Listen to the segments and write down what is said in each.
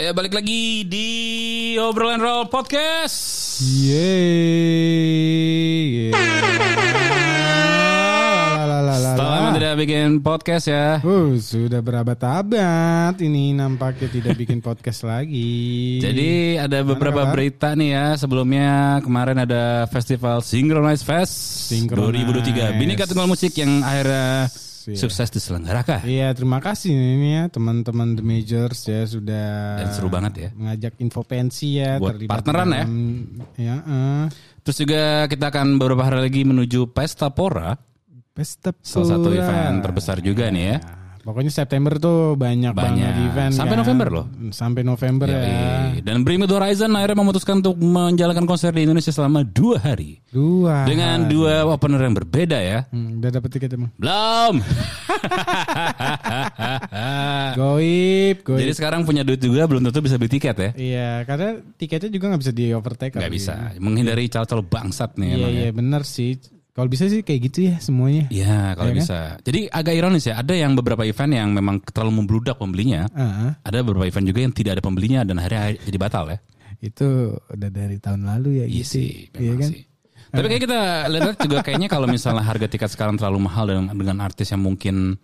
Ya balik lagi di obrolan roll podcast. Yeay. Lama tidak bikin podcast ya. Oh, sudah berabad-abad ini nampaknya tidak bikin podcast lagi. Jadi ada beberapa kabar? berita nih ya. Sebelumnya kemarin ada festival Synchronize Fest Synchronize. 2023. Bineka Tunggal Musik yang akhirnya Iya. sukses diselenggarakan. Iya, terima kasih ini ya teman-teman The Majors ya sudah Dan seru banget ya. mengajak info pensi ya Buat partneran ya. dalam- ya. eh. Terus juga kita akan beberapa hari lagi menuju Pesta Pora, Pesta salah satu Pura. event terbesar juga nih ya. Nah, Pokoknya September tuh banyak, banget Banyak. event Sampai kan. November loh. Sampai November ya. Yoi. Dan Bring Me The Horizon akhirnya memutuskan untuk menjalankan konser di Indonesia selama dua hari. Dua. Dengan dua opener yang berbeda ya. Hmm, udah dapet tiket emang. Belum. Goib, goib. Ah. Jadi sekarang punya duit juga belum tentu bisa beli tiket ya. Iya, karena tiketnya juga nggak bisa di overtake. Nggak kali. bisa. Menghindari calon-calon bangsat nih Iya, emang ya. iya benar sih. Kalau bisa sih kayak gitu ya semuanya. Iya kalau Iya kan? bisa. Jadi agak ironis ya. Ada yang beberapa event yang memang terlalu membludak pembelinya. Ah, Ada beberapa event juga yang tidak ada pembelinya dan akhirnya jadi batal ya. itu udah dari tahun lalu ya Iya gitu. sih, iya memang kan? sih. Tapi kayak kita lihat juga kayaknya kalau misalnya harga tiket sekarang terlalu mahal dengan, dengan artis yang mungkin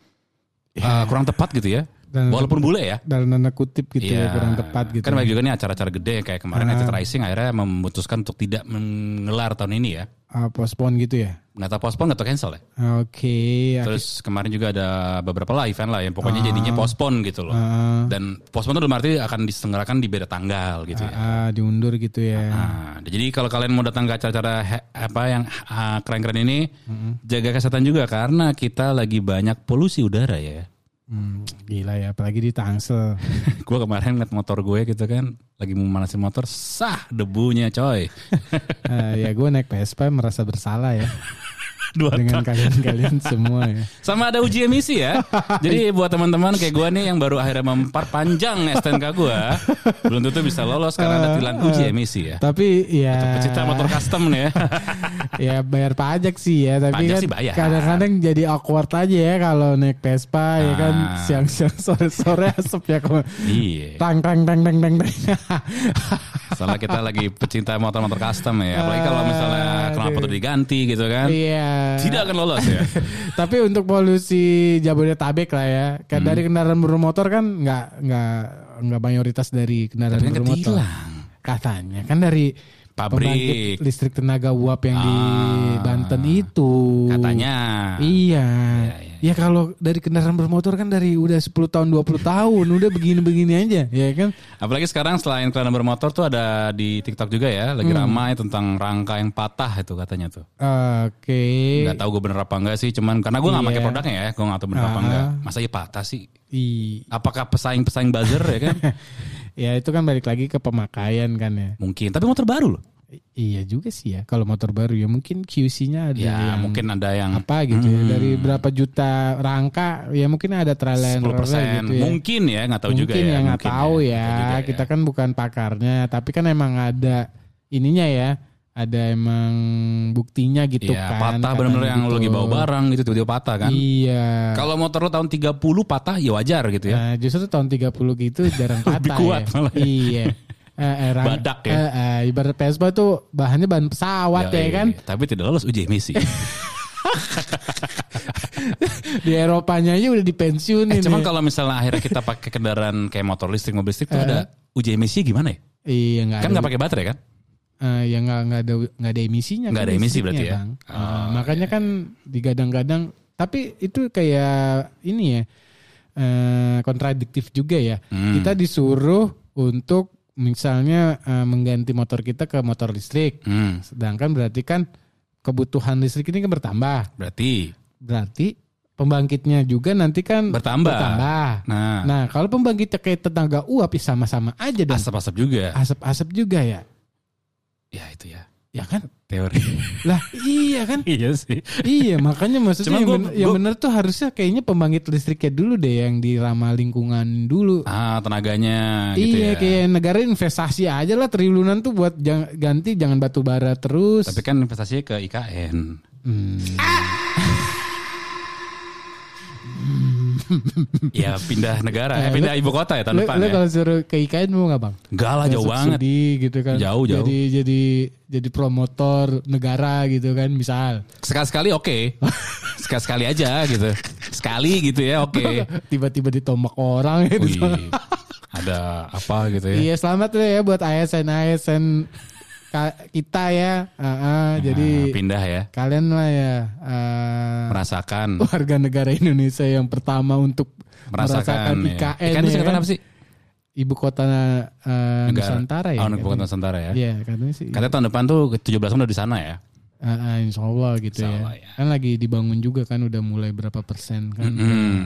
eh, kurang tepat gitu ya. Iya. Dan- Walaupun bule ya. Dalam tanda kutip gitu Iya. ya Ah. kurang tepat gitu. Kan banyak juga nih acara-acara gede kayak kemarin Exit Rising akhirnya memutuskan untuk tidak menggelar tahun ini ya. Ah, postpone gitu ya. Nggak tahu postpone atau cancel ya. Oke. ah, ak- Terus kemarin juga ada beberapa lah event lah yang pokoknya jadinya postpone gitu loh. Ah. Dan postpone itu dalam arti akan diselenggarakan di beda tanggal gitu ya. ah, diundur gitu ya. Nah, jadi kalau kalian mau datang ke acara-acara he- apa yang ah, keren-keren ini, jaga kesehatan juga karena kita lagi banyak polusi udara ya. Hmm, gila ya, apalagi di Tangsel. gue kemarin ngeliat motor gue gitu kan, lagi mau manasin motor, sah debunya coy. Ah, ya gue naik Vespa merasa bersalah ya Dua dengan kalian-kalian semua ya. Sama ada uji emisi ya. Jadi buat teman-teman kayak gua nih yang baru akhirnya memperpanjang STNK gua, belum tentu bisa lolos karena ada tilang uji emisi ya. Tapi ya Pecinta motor custom nih ya. ya bayar pajak sih ya tapi Pajak kan sih bayar. kadang-kadang jadi awkward aja ya kalau naik Vespa ya kan Ah. siang-siang sore-sore asap ya kok Iya. tang tang tang tang tang tang Soalnya kita lagi pecinta motor-motor custom ya. Apalagi kalau misalnya kenapa tuh diganti gitu kan. Ah, iya Tidak akan lolos ya. tapi untuk polusi Jabodetabek lah ya kan Hmm. dari kendaraan bermotor kan nggak nggak nggak mayoritas dari kendaraan Tapi kan bermotor ketilang. katanya kan dari Pabrik. pembangkit listrik tenaga uap yang di Ah. Banten itu Katanya. Iya. Ya kalau dari kendaraan bermotor kan dari udah 10 tahun 20 tahun udah begini-begini aja, ya kan? Apalagi sekarang selain kalian bermotor tuh ada di TikTok juga ya. Lagi Hmm. ramai tentang rangka yang patah itu katanya tuh. Oke. Gak tau gue bener apa enggak sih, cuman karena gue gak Iya. pakai produknya ya, gue gak tau bener apa Ah. enggak. Masa iya patah sih? I- Apakah pesaing-pesaing buzzer ya kan? Ya itu kan balik lagi ke pemakaian kan ya. mungkin, tapi motor baru loh. I- Iya juga sih ya. Kalau motor baru ya mungkin QC-nya ada Ya yang mungkin ada yang apa gitu ya. Dari berapa juta rangka ya mungkin ada 10% trial and error gitu ya. mungkin ya, gak tahu juga mungkin ya. ya nggak mungkin tahu ya, Nggak tahu juga kita kan bukan pakarnya tapi kan emang ada ininya ya ada emang buktinya gitu Iya, kan patah katanya bener-bener yang gitu. lu lagi bawa barang gitu, tiba-tiba patah kan. iya Kalau motor lu tahun 30 patah, ya wajar gitu ya. nah justru tahun 30 gitu jarang patah Lebih kuat ya. malah ya. iya Eh, eh, rang- Badak ya. eh, eh, ibarat Vespa tuh bahannya bahan pesawat ya, iya, kan iya. Tapi tidak lolos uji emisi. di Eropanya aja udah dipensiunin eh, cuman ya. kalau misalnya akhirnya kita pakai kendaraan kayak motor listrik, mobil listrik Eh. tuh ada uji emisinya gimana ya? iya nggak Kan ada nggak pakai baterai kan? Eh, ya nggak nggak ada nggak ada emisinya Nggak kan ada emisi listriknya, berarti ya? Bang. Eh, makanya kan digadang-gadang tapi itu kayak ini ya eh, kontradiktif juga ya Hmm. kita disuruh untuk misalnya eh, mengganti motor kita ke motor listrik Hmm. sedangkan berarti kan kebutuhan listrik ini kan bertambah Berarti berarti pembangkitnya juga nanti kan Bertambah. bertambah. Nah, nah kalau pembangkitnya kayak tenaga uap ya sama-sama aja dong asap-asap juga. asap-asap juga ya Ya itu ya ya kan teori. lah iya kan iya sih. iya makanya maksudnya Cuman yang, gua- bener, yang gua- bener tuh harusnya kayaknya pembangkit listriknya dulu deh yang di ramah lingkungan dulu Ah tenaganya gitu ya. iya kayak negara investasi aja lah triliunan tuh buat jang- ganti jangan batu bara terus Tapi kan investasinya ke IKN. Hmm. ya pindah negara, eh, pindah ibu kota ya tahun Lu, depan lu Ya, ya. kalau suruh ke IKN mau nggak bang? Enggak lah jauh Kayak banget. subsidi gitu kan. Jauh, jauh. Jadi jadi jadi promotor negara gitu kan misal. Sekali-sekali oke. Sekali-sekali aja gitu. Sekali gitu ya oke. Tiba-tiba ditombak orang gitu. Wih, ada apa gitu ya. Iya selamat deh ya buat ASN ASN ka- kita ya. Ah, ah, jadi Nah, pindah ya. kalian lah ya ah, Merasakan. warga negara Indonesia yang pertama untuk Merasakan. merasakan, ya. IKN. IKN ya itu singkatan kan? apa sih? Ibu kota eh, Nusantara ya. Oh, ibu kota Nusantara ya. Iya katanya sih. Katanya tahun depan tuh ke 17 udah di sana ya. Ah, ah, insya Allah gitu Insya ya. Allah, ya. Kan lagi dibangun juga kan udah mulai berapa persen kan. Hmm.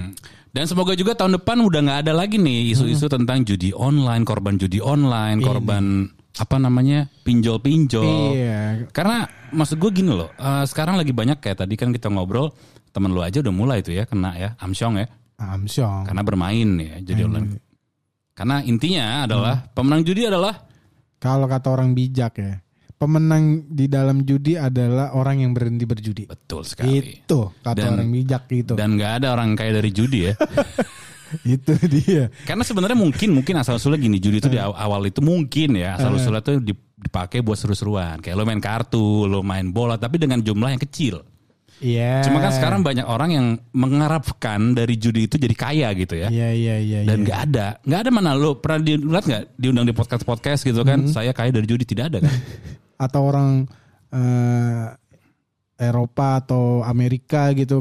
Dan semoga juga tahun depan udah nggak ada lagi nih isu-isu tentang judi online, korban judi online, korban apa namanya pinjol-pinjol. Iya. Karena maksud gue gini loh, eh, sekarang lagi banyak kayak tadi kan kita ngobrol temen lu aja udah mulai tuh ya kena ya amsyong ya Amsyong. karena bermain ya jadi online. Karena intinya adalah pemenang judi adalah Kalau kata orang bijak ya. Pemenang di dalam judi adalah orang yang berhenti berjudi. betul sekali. Itu kata Dan- orang bijak gitu. Dan nggak ada orang kaya dari judi ya. itu dia. Karena sebenarnya mungkin mungkin asal usulnya gini judi itu di Hmm. aw- awal itu mungkin ya asal usulnya tuh dip- dipakai buat seru-seruan kayak lo main kartu, lo main bola tapi dengan jumlah yang kecil. Iya. Cuma kan sekarang banyak orang yang mengharapkan dari judi itu jadi kaya gitu ya. Iya iya iya. Dan iya. nggak ada, nggak ada mana lo pernah dilihat nggak diundang di podcast podcast gitu kan? Hmm. Saya kaya dari judi tidak ada kan? Atau orang eh, Eropa atau Amerika gitu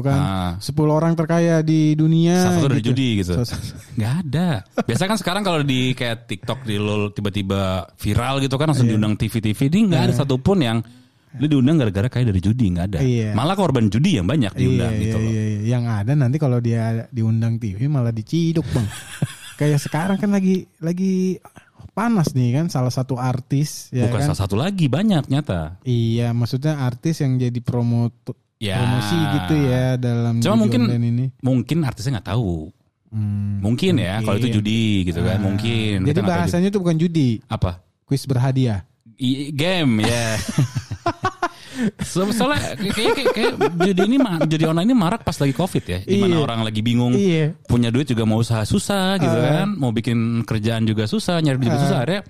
Nah, kan. 10 orang terkaya di dunia. salah satu dari gitu. judi gitu. Salah satu- Nggak ada. Biasa kan sekarang kalau di kayak TikTok di lol tiba-tiba viral gitu kan langsung Iya. diundang TV-TV. Ini nggak ada satupun yang lu diundang gara-gara kayak dari judi nggak ada. Iya. Malah korban judi yang banyak diundang iya, gitu iya, loh. iya, iya. Yang ada nanti kalau dia diundang TV malah diciduk bang. Kayak sekarang kan lagi lagi panas nih kan salah satu artis ya Bukan kan. salah satu lagi banyak nyata. Iya maksudnya artis yang jadi promo Ya. promosi gitu ya dalam Cuma judi mungkin- online ini. Mungkin artisnya nggak tahu. Hmm. Mungkin ya kalau itu Mungkin. judi gitu kan. Ah. Mungkin. Jadi Kita nggak tahu juga. bahasanya itu bukan judi, apa? kuis berhadiah. I- game ya. So, soalnya kayak, kayak, kayak judi ini ma- judi online ini marak pas lagi covid ya, di mana Iya. orang lagi bingung Iya. punya duit juga mau usaha susah gitu Ah. kan, mau bikin kerjaan juga susah, nyari duit juga susah, akhirnya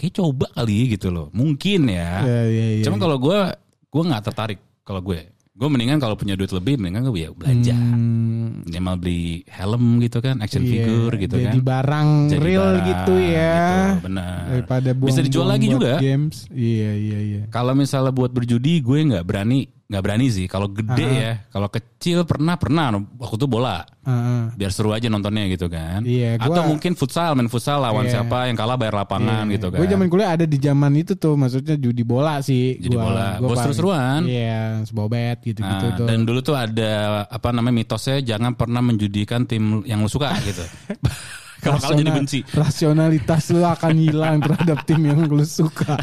kayak coba kali gitu loh, mungkin ya. Iya, iya, iya. Cuma kalau gue, gue nggak tertarik kalau gue, gue mendingan kalau punya duit lebih, mendingan gue ya belanja, Hmm, minimal beli helm gitu kan, action iya. figure gitu jadi kan, barang Jadi real barang gitu ya. gitu, benar. Daripada buang Bisa dijual lagi juga. Games. Iya iya iya. Kalau misalnya buat berjudi gue nggak berani, nggak berani sih. Kalau gede ya, kalau kecil pernah pernah waktu itu bola. Ah, ah. Biar seru aja nontonnya gitu kan. Iya, gua- Atau mungkin futsal, main futsal lawan Iya. siapa yang kalah bayar lapangan gitu kan. Gue Iya, zaman kuliah ada di zaman itu tuh, maksudnya judi bola sih. Judi bola. gua Gua paling- seru-seruan. Iya, sebobet gitu-gitu Nah, gitu tuh. dan dulu tuh ada apa namanya mitosnya jangan pernah menjudikan tim yang lo suka gitu. Kalau kalah jadi Rasional- benci. Rasionalitas lu akan hilang terhadap tim yang lu suka.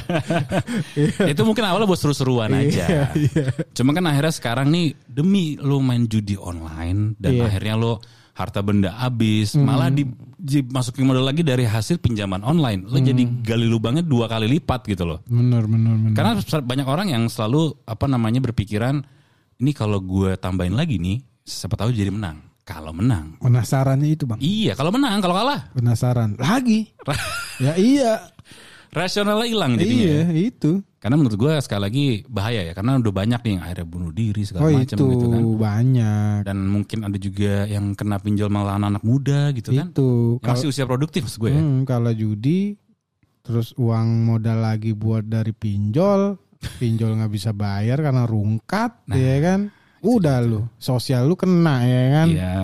Itu mungkin awalnya buat seru-seruan aja. iya. Cuma kan akhirnya sekarang nih demi lo main judi online dan Iya. Hmm. akhirnya lo harta benda habis, malah di, dimasukin modal lagi dari hasil pinjaman online. Lo jadi Hmm. gali lubangnya dua kali lipat gitu loh. Bener, bener, bener. Karena se- banyak orang yang selalu apa namanya berpikiran ini kalau gue tambahin lagi nih, siapa tahu jadi menang. Kalau menang. Penasarannya itu bang. Iya, kalau menang, kalau kalah Penasaran. Lagi. ya iya. rasionalnya hilang jadinya. ya. Iya, itu. Karena menurut gue sekali lagi bahaya ya, karena udah banyak nih yang akhirnya bunuh diri segala Oh macam itu gitu kan. banyak. dan mungkin ada juga yang kena pinjol malah anak muda gitu kan Itu. Yang masih usia produktif maksud gue ya Hmm, kalau judi terus uang modal lagi buat dari pinjol, pinjol nggak bisa bayar karena rungkat, Nah, ya kan? Udah lu, sosial lu kena ya kan? Iya.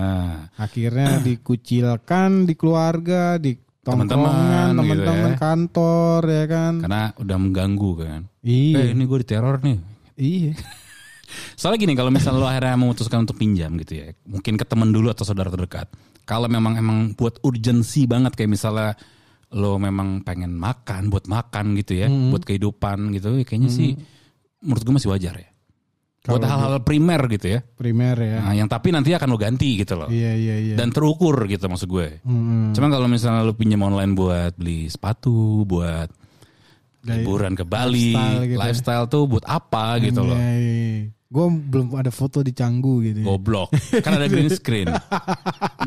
Akhirnya dikucilkan di keluarga, di Teman-teman gitu tongkrongan, teman-teman ya. kantor ya kan? karena udah mengganggu kan Iya, eh ini gue diteror nih iya. soalnya gini kalau misalnya lo akhirnya memutuskan untuk pinjam gitu ya mungkin ke temen dulu atau saudara terdekat kalau memang emang buat urgensi banget kayak misalnya lo memang pengen makan buat makan gitu ya Hmm. buat kehidupan gitu ya kayaknya sih menurut gue masih wajar ya buat hal-hal primer gitu ya Primer ya. nah, yang tapi nanti akan lo ganti gitu loh Iya, iya, iya. dan terukur gitu maksud gue Hmm, Cuman kalau misalnya lu pinjam online buat beli sepatu, buat Gaya- liburan ke Bali, lifestyle lifestyle, gitu ya. tuh buat apa gitu loh. iya, iya. Gue belum ada foto di Canggu gitu. ya. Goblok. Kan ada green screen.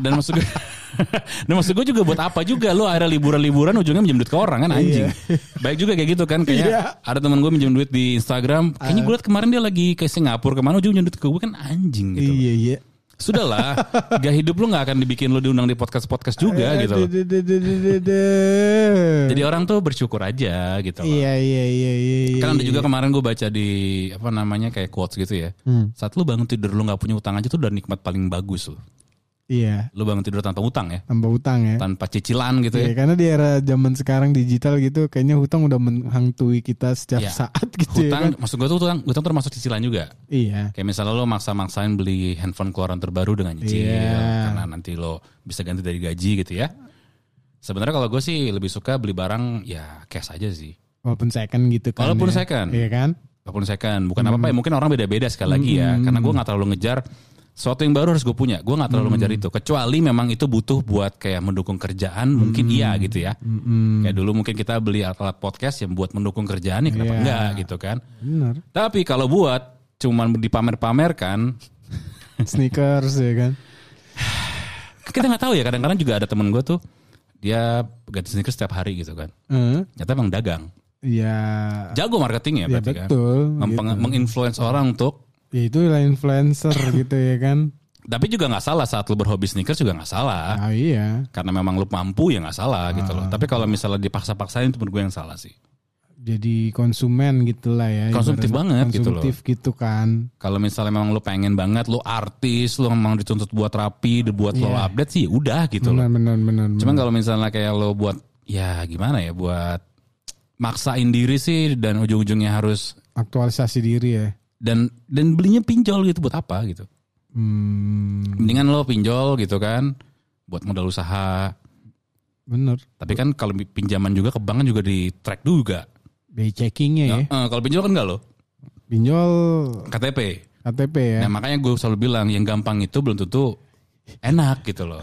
Dan maksud gue Dan maksud gue juga buat apa juga lu akhirnya liburan-liburan ujungnya minjem duit ke orang kan anjing. Baik juga kayak gitu kan kayak Iya. Ah. ada teman gue minjem duit di Instagram, kayaknya gue liat kemarin dia lagi ke Singapura kemana ujungnya minjem duit ke gue kan anjing gitu. Iya iya. Sudahlah, gak hidup lu gak akan dibikin lu diundang di podcast-podcast Eh, juga gitu loh. Jadi orang tuh bersyukur aja gitu loh. Iya iya iya iya. iya, Kan ada iya. juga kemarin gue baca di apa namanya kayak quotes gitu ya. Hmm. Saat lu bangun tidur lu nggak punya utang aja tuh udah nikmat paling bagus loh. Iya. Lu bangun tidur tanpa utang ya, Tambah utang ya. tanpa cicilan gitu ya. Iya, karena di era zaman sekarang digital gitu kayaknya hutang udah menghantui kita setiap Iya. saat gitu ya kan. Hutang, maksud gue tuh hutang, hutang termasuk cicilan juga. Iya. Kayak misalnya lo maksa-maksain beli handphone keluaran terbaru dengan nyicil Iya. karena nanti lo bisa ganti dari gaji gitu ya. Sebenarnya kalau gue sih lebih suka beli barang ya cash aja sih. Walaupun second gitu kan. Walaupun ya. second. Iya kan? Walaupun second, bukan apa-apa ya. Hmm. Mungkin orang beda-beda sekali lagi ya. Karena gue nggak terlalu ngejar sesuatu yang baru harus gue punya. Gue nggak terlalu Hmm. ngejar itu. Kecuali memang itu butuh buat kayak mendukung kerjaan, mungkin Hmm. iya gitu ya. Kayak dulu mungkin kita beli alat podcast yang buat mendukung kerjaan ya kenapa Iya. enggak gitu kan. Benar. Tapi kalau buat cuman dipamer-pamerkan, Sneakers ya kan. kita nggak tahu ya. Kadang-kadang juga ada temen gue tuh dia ganti sneakers setiap hari gitu kan. Eh, Ternyata emang dagang. Iya. Jago marketing ya Ya berarti kan. betul. Mempeng- gitu. Menginfluence orang untuk Ya itu lah influencer gitu ya kan. tapi juga nggak salah saat lu berhobi sneakers juga nggak salah Ah iya. karena memang lu mampu ya nggak salah gitu Ah. loh tapi kalau misalnya dipaksa-paksain itu menurut gue yang salah sih Jadi konsumen gitulah ya. Konsumtif ibaratnya. banget gitu loh. Konsumtif gitu kan. kalau misalnya memang lu pengen banget lu artis lu memang dituntut buat rapi dibuat lo Iya. update sih udah gitu loh Benar benar benar. cuman kalau misalnya kayak lo buat ya gimana ya buat maksain diri sih dan ujung-ujungnya harus aktualisasi diri ya. dan dan belinya pinjol gitu buat apa gitu Hmm, mendingan lo pinjol gitu kan buat modal usaha bener. tapi kan kalau pinjaman juga ke bank kan juga di track juga Biaya checkingnya ya. Eh, kalau pinjol kan enggak lo Pinjol KTP. KTP ya. Nah makanya gue selalu bilang yang gampang itu belum tentu enak gitu loh.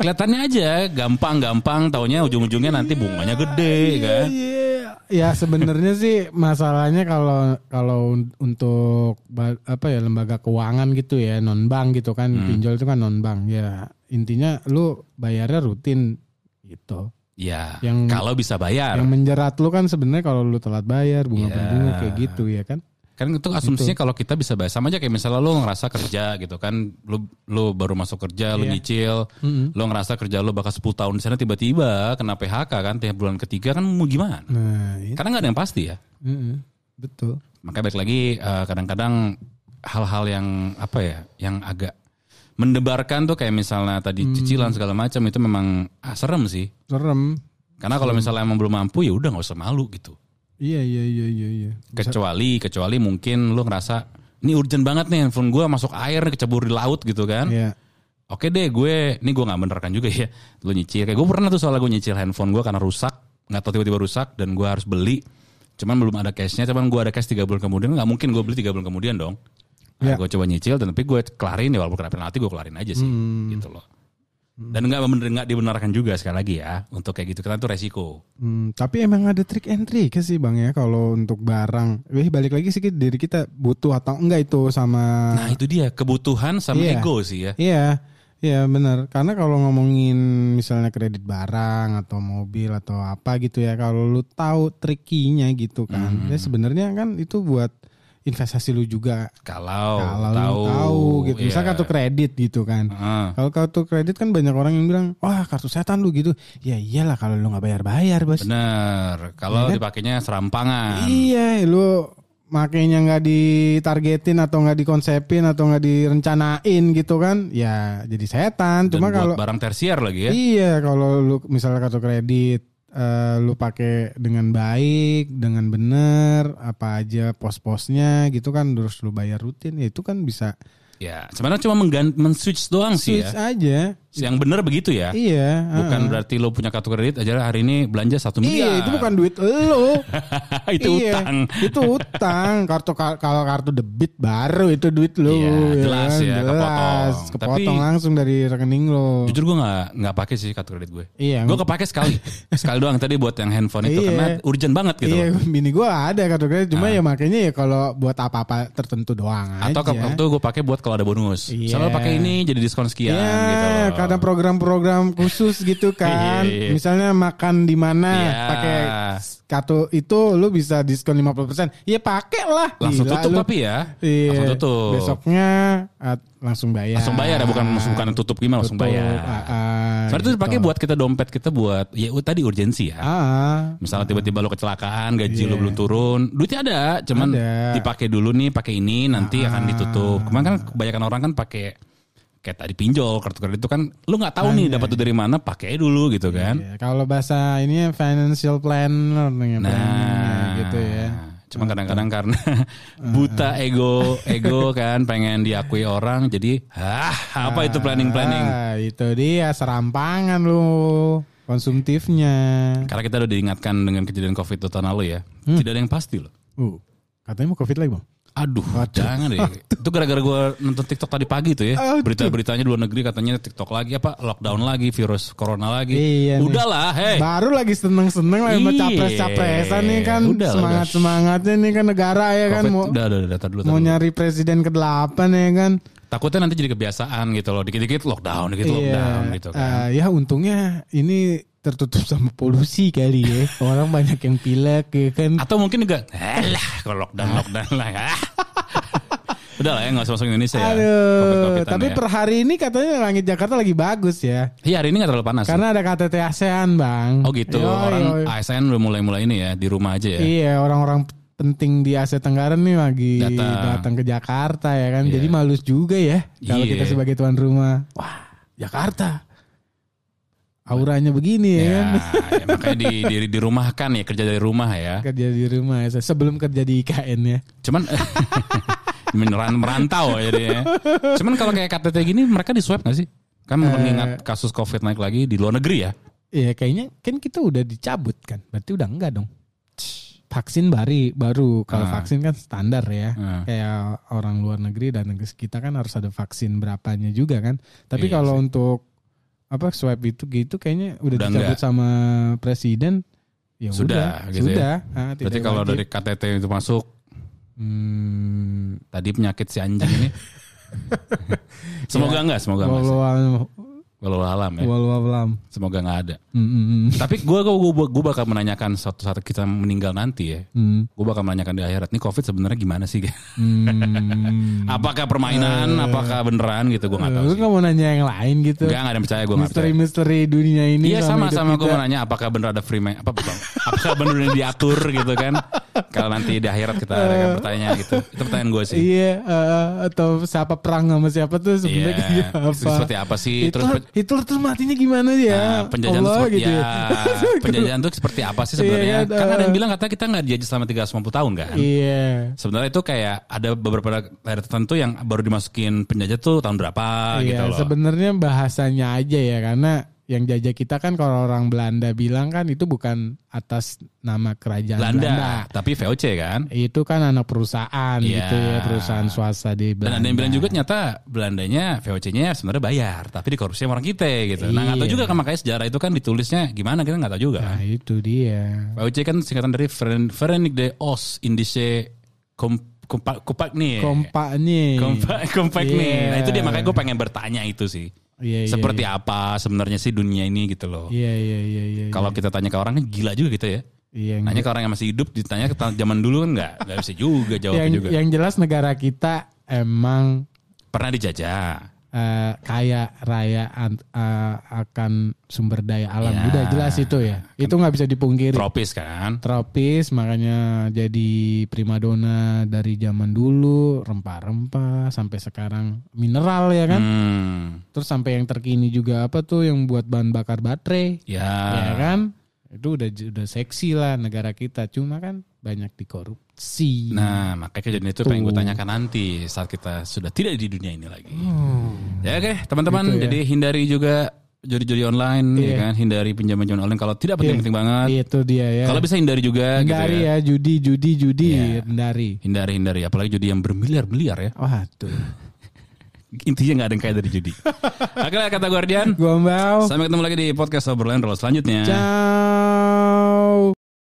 Kelihatannya aja gampang-gampang, taunya ujung-ujungnya nanti bunganya gede kan. Ah, Iya. Ya sebenarnya sih masalahnya kalau kalau un- untuk ba- apa ya lembaga keuangan gitu ya non bank gitu kan Hmm. pinjol itu kan non bank ya intinya lu bayarnya rutin gitu. Ya, Yang- kalau bisa bayar. Yang menjerat lu kan sebenarnya kalau lu telat bayar bunga Iya. berbunga kayak gitu ya kan. Kan itu asumsinya kalau kita bisa bayar sama aja kayak misalnya lo ngerasa kerja gitu kan, lo lo baru masuk kerja, lo Iya. nyicil, lo ngerasa kerja lo bakal 10 tahun di sana tiba-tiba kena PHK kan tiap bulan ketiga kan mau gimana? Nah, itu. Karena nggak ada yang pasti ya. betul. Makanya balik lagi eh, kadang-kadang hal-hal yang apa ya, yang agak mendebarkan tuh kayak misalnya tadi Mm. cicilan segala macam itu memang ah, serem sih. Serem. Karena kalau misalnya emang belum mampu ya udah nggak usah malu gitu. Iya iya iya iya iya. Kecuali kecuali mungkin lu ngerasa ini urgent banget nih handphone gua masuk air kecebur di laut gitu kan. Iya. Oke deh gue ini gue nggak benerkan juga ya lu nyicil kayak gue pernah tuh soalnya gue nyicil handphone gue karena rusak nggak tahu tiba-tiba rusak dan gue harus beli cuman belum ada cashnya cuman gue ada cash tiga bulan kemudian nggak mungkin gue beli tiga bulan kemudian dong nah, Ya. gue coba nyicil dan tapi gue kelarin ya walaupun kena penalti gue kelarin aja sih Hmm. gitu loh dan nggak bener nggak dibenarkan juga sekali lagi ya untuk kayak gitu karena itu resiko Hmm, tapi emang ada trik and trick ya sih bang ya kalau untuk barang. Eh balik lagi sih ke diri kita butuh atau enggak itu sama. nah itu dia kebutuhan sama Iya. ego sih ya Iya, iya benar. Karena kalau ngomongin misalnya kredit barang atau mobil atau apa gitu ya, kalau lu tahu trikinya gitu kan, Hmm. ya sebenarnya kan itu buat investasi lu juga. kalau, Oh, kalau tahu, lu tahu gitu, iya. Ah, misal kartu kredit gitu kan. Heeh. Kalau kartu kredit kan banyak orang yang bilang, wah kartu setan lu gitu. Ya iyalah kalau lu nggak bayar-bayar bos. bener kalau dipakainya serampangan kan? Iya, lu makainya nggak ditargetin atau nggak dikonsepin atau nggak direncanain gitu kan, ya jadi setan. dan Cuma buat kalau barang tersier lagi ya iya kalau lu misalnya kartu kredit eh, lu pakai dengan baik, dengan benar, apa aja pos-posnya gitu kan terus lu bayar rutin, ya itu kan bisa Ya, sebenarnya cuma menggan- men-switch doang sih switch ya. aja. Yang bener begitu ya. Iya. Bukan heeh. berarti lo punya kartu kredit aja hari ini belanja satu Iya, miliar. itu bukan duit elu. itu Iya, utang. Itu utang. Kartu kal- kalau kartu debit baru itu duit lu. Iya, jelas kan? ya, kepotong. Kepotong Tapi- langsung dari rekening lo. Jujur gue nggak nggak pakai sih kartu kredit gue. Iya. Gue kepake sekali, sekali doang tadi buat yang handphone itu Iya. karena urgent banget gitu. Iya, loh. bini gue ada kartu kredit. Cuma ya makanya ya kalau buat apa-apa tertentu doang Atau aja. ke- waktu gue pakai buat kalau ada bonus. Iya. Selalu pakai ini jadi diskon sekian Iya, gitu. loh. kadang program-program khusus gitu kan. Iya, iya. Misalnya makan di mana Iya. pakai kartu itu lu bisa diskon 50%. Iya, pakai lah. langsung Gila tutup lu. tapi ya. Iya. Langsung tutup. Besoknya at- langsung bayar. Langsung bayar ya bukan bukan tutup gimana langsung Tutup, bayar. ah, ah, Sebenarnya itu gitu. dipakai buat kita dompet kita buat ya tadi urgensi ya. Ah, ah. Misalnya tiba-tiba lo kecelakaan, gaji Iya. lo belum turun, duitnya ada, cuman Ada. Ah. dipakai dulu nih, pakai ini nanti akan ditutup. Kemarin kan kebanyakan orang kan pakai kayak tadi pinjol, kartu kredit itu kan lo nggak tahu nih dapat tuh dari mana, pakai dulu gitu kan. Iya, kalau bahasa ini financial planner nih, planningnya Nah, gitu ya. Ah. Cuma kadang-kadang karena buta ego, ego kan pengen diakui orang, jadi hah apa itu planning planning? Ah, itu dia serampangan lu konsumtifnya. Karena kita udah diingatkan dengan kejadian covid tuh tahun lalu ya, Hmm. tidak ada yang pasti loh. Uh, katanya mau covid lagi bang? Aduh, jangan deh. Itu gara-gara gue nonton TikTok tadi pagi tuh ya. Aduh. Berita-beritanya di luar negeri katanya TikTok lagi apa lockdown lagi, virus corona lagi. Iya nih. Udahlah, hei. Baru lagi seneng-seneng lah sama Iya. capres-capresan nih kan Udah lah, semangat-semangatnya nih kan negara ya kan Covid, mau udah, udah, udah, tar dulu, tar mau dulu. nyari presiden ke-8 ya kan. Takutnya nanti jadi kebiasaan gitu loh. Dikit-dikit lockdown, dikit Iya. lockdown gitu kan. Eh, ya untungnya ini tertutup sama polusi kali ya. Orang banyak yang pilek ya kan. Atau mungkin juga, alah kalau lockdown, lockdown lah. ah." udah lah ya, gak usah masuk Indonesia ya. Aduh, Covid-covidan tapi ya. per hari ini katanya langit Jakarta lagi bagus ya. Iya hari ini gak terlalu panas. Karena ada KTT ASEAN, Bang. oh gitu, Yoi, orang yoi. ASN udah mulai-mulai ini ya, di rumah aja ya. Iya, orang-orang penting di Asia Tenggara nih lagi Datang. datang ke Jakarta ya kan. Jadi malus juga ya kalau Iya. kita sebagai tuan rumah. Wah, Jakarta. Auranya begini ya, Ya, kan. ya, makanya di, di, dirumahkan ya, kerja dari rumah ya. Kerja di rumah ya, sebelum kerja di IKN ya. Cuman meneran merantau ya dia. Cuman kalau kayak KTT gini mereka di swab gak sih? Kan Eh. mengingat kasus COVID naik lagi di luar negeri ya. Iya, kayaknya kan kita udah dicabut kan. Berarti udah enggak dong. Vaksin bari baru kalau Ah. vaksin kan standar ya. Ah. Kayak orang luar negeri dan negeri kita kan harus ada vaksin berapanya juga kan. Tapi Iya kalau untuk apa swab itu gitu kayaknya udah, Udah enggak. dicabut sama presiden ya Sudah, udah, gitu ya. sudah. Ah, tidak Berarti kalau wajib. dari KTT itu masuk Hmm, tadi penyakit si anjing ini. semoga enggak, semoga enggak. Iya. walau Eh. Walau alam ya. walau alam. Semoga enggak ada. Hmm, hmm, hmm. Tapi gua gua gua, gua bakal menanyakan suatu saat kita meninggal nanti ya. Hmm, Gua bakal menanyakan di akhirat nih COVID sebenarnya gimana sih? hmm. apakah permainan, Eh. apakah beneran gitu gua enggak tahu Lu sih. nggak mau nanya yang lain gitu? Enggak, enggak ada yang percaya gua enggak percaya. misteri-misteri dunia ini Iya sama hidup sama gue kita. mau nanya apakah bener ada free ma- apa bang? Apakah bener ini diatur gitu kan? Kalau nanti di akhirat kita ada Eh. kan pertanyaan gitu. Itu pertanyaan gue sih. Iya eh, atau siapa perang sama siapa tuh sebenarnya Iya. kayak apa? Seperti apa sih? Hitler, Terus pe- Hitler terus matinya gimana ya? nah, penjajahan Allah, seperti gitu ya, ya. penjajahan itu seperti apa sih sebenarnya? Iya, kan, kan ada yang eh. bilang katanya kita nggak dijajah selama 350 tahun kan? Iya. Sebenarnya itu kayak ada beberapa daerah tertentu yang baru dimasukin penjajah tuh tahun berapa Iya, gitu loh. sebenarnya bahasanya aja ya karena yang jajah kita kan kalau orang Belanda bilang kan itu bukan atas nama kerajaan Belanda, Belanda. tapi VOC kan? Itu kan anak perusahaan Iya. gitu ya, perusahaan swasta di Dan Belanda. ada yang bilang juga ternyata Belandanya VOC-nya sebenarnya bayar, tapi dikorupsi sama orang kita gitu. Nah nggak tahu Iya. juga kan makanya sejarah itu kan ditulisnya gimana kita nggak tahu juga. Nah, itu dia. VOC kan singkatan dari Veren- Verenigde de Os Indische Kom- Kompa- Kompak nih. Kompak nih. Iya. Kompak, kompak nih. Iya. Nah itu dia makanya gue pengen bertanya itu sih. Iya, iya, Seperti apa sebenarnya sih dunia ini gitu loh. Iya iya iya iya. Kalau kita tanya ke orang kan gila juga gitu ya. iya, yang, Nanya ke orang yang masih hidup ditanya ke ta- zaman dulu kan nggak nggak bisa juga jawabnya yang, juga. yang jelas negara kita emang Pernah dijajah. eh, kaya raya an- eh, akan sumber daya alam. Ya. Udah jelas itu ya. Kan Itu nggak bisa dipungkiri. Tropis kan. Tropis makanya jadi primadona dari zaman dulu rempah-rempah sampai sekarang mineral ya kan. Hmm. Terus sampai yang terkini juga apa tuh yang buat bahan bakar baterai. Ya. ya kan itu udah udah seksi lah negara kita cuma kan banyak dikorupsi Nah, makanya kejadian itu pengen gue tanyakan nanti saat kita sudah tidak di dunia ini lagi. Ya oke, teman-teman. Hmm. Gitu ya. Jadi hindari juga judi-judi online, ya Iya. kan? Hindari pinjaman-pinjaman online kalau tidak penting-penting banget. Itu dia ya. Kalau bisa hindari juga hindari gitu ya. Iya. ya. judi judi judi hindari. Hindari hindari apalagi judi yang bermiliar-miliar ya. Waduh. Intinya nggak ada yang kaya dari judi. Akhirnya kata Guardian. Gombal. Sampai ketemu lagi di podcast obrolan roll selanjutnya. Ciao.